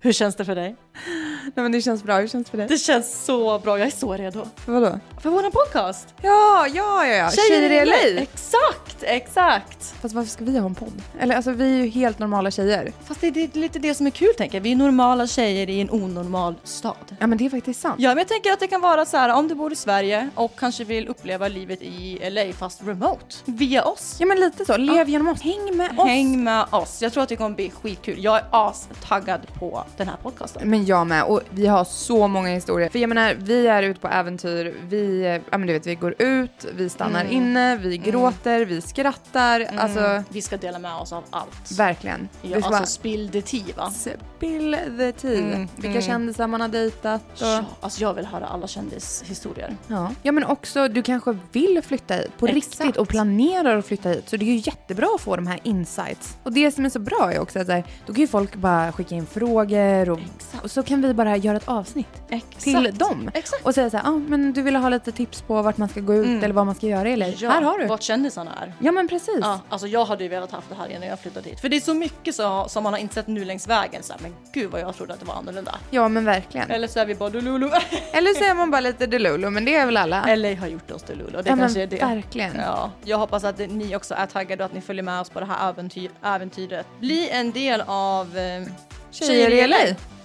Hur känns det för dig? Nej men det känns bra, hur känns det för dig? Det känns så bra, jag är så redo. För vadå? För våran podcast! Ja, ja, ja, ja. Exakt, exakt! Fast varför ska vi ha en podd? Eller alltså vi är ju helt normala tjejer. Fast det är det är lite det som är kul tänker jag. Vi är normala tjejer i en onormal stad. Ja men det är faktiskt sant. Ja, men jag tänker att det kan vara så här om du bor i Sverige och kanske vill uppleva livet i LA fast remote via oss. Ja men lite så, lev genom oss. Häng med oss. Häng med oss. Jag tror att det kommer bli skitkul. Jag är astaggad på den här podcasten. Men jag med och vi har så många historier. För jag menar vi är ute på äventyr, vi, eh, ja men du vet vi går ut, vi stannar inne, vi gråter, vi skrattar. Alltså Vi ska dela med oss av allt. verkligen. Ja, vi ska alltså spill the tea va? bara spill the tea. Vilka kändisar man har dejtat och... Ja, alltså jag vill höra alla kändishistorier. Ja. ja men också du kanske vill flytta hit på Exakt. riktigt och planerar att flytta hit. Så det är ju jättebra att få de här insights. Och det som är så bra är också att så här, då kan ju folk bara skicka in frågor och, Exakt. och så kan vi bara göra ett avsnitt Exakt. till dem. Exakt. Och säga så här, ah, men du ville ha lite tips på vart man ska gå ut eller vad man ska göra eller Mm. Ja, här har du. Vart kändisarna är. Ja men precis. Ja, alltså jag hade ju velat haft det här innan jag flyttade hit. För det är så mycket så, som man har insett nu längs vägen. Så här, men gud vad jag trodde att det var annorlunda. Ja men verkligen. Eller så är vi bara Lulu. Eller så är man bara lite delulu men det är väl alla. LA har gjort oss till Luleå, det Ja, men kanske är det. verkligen. Ja. Jag hoppas att ni också är taggade och att ni följer med oss på det här äventyr, äventyret. Bli en del av eh, Tjejer i LA.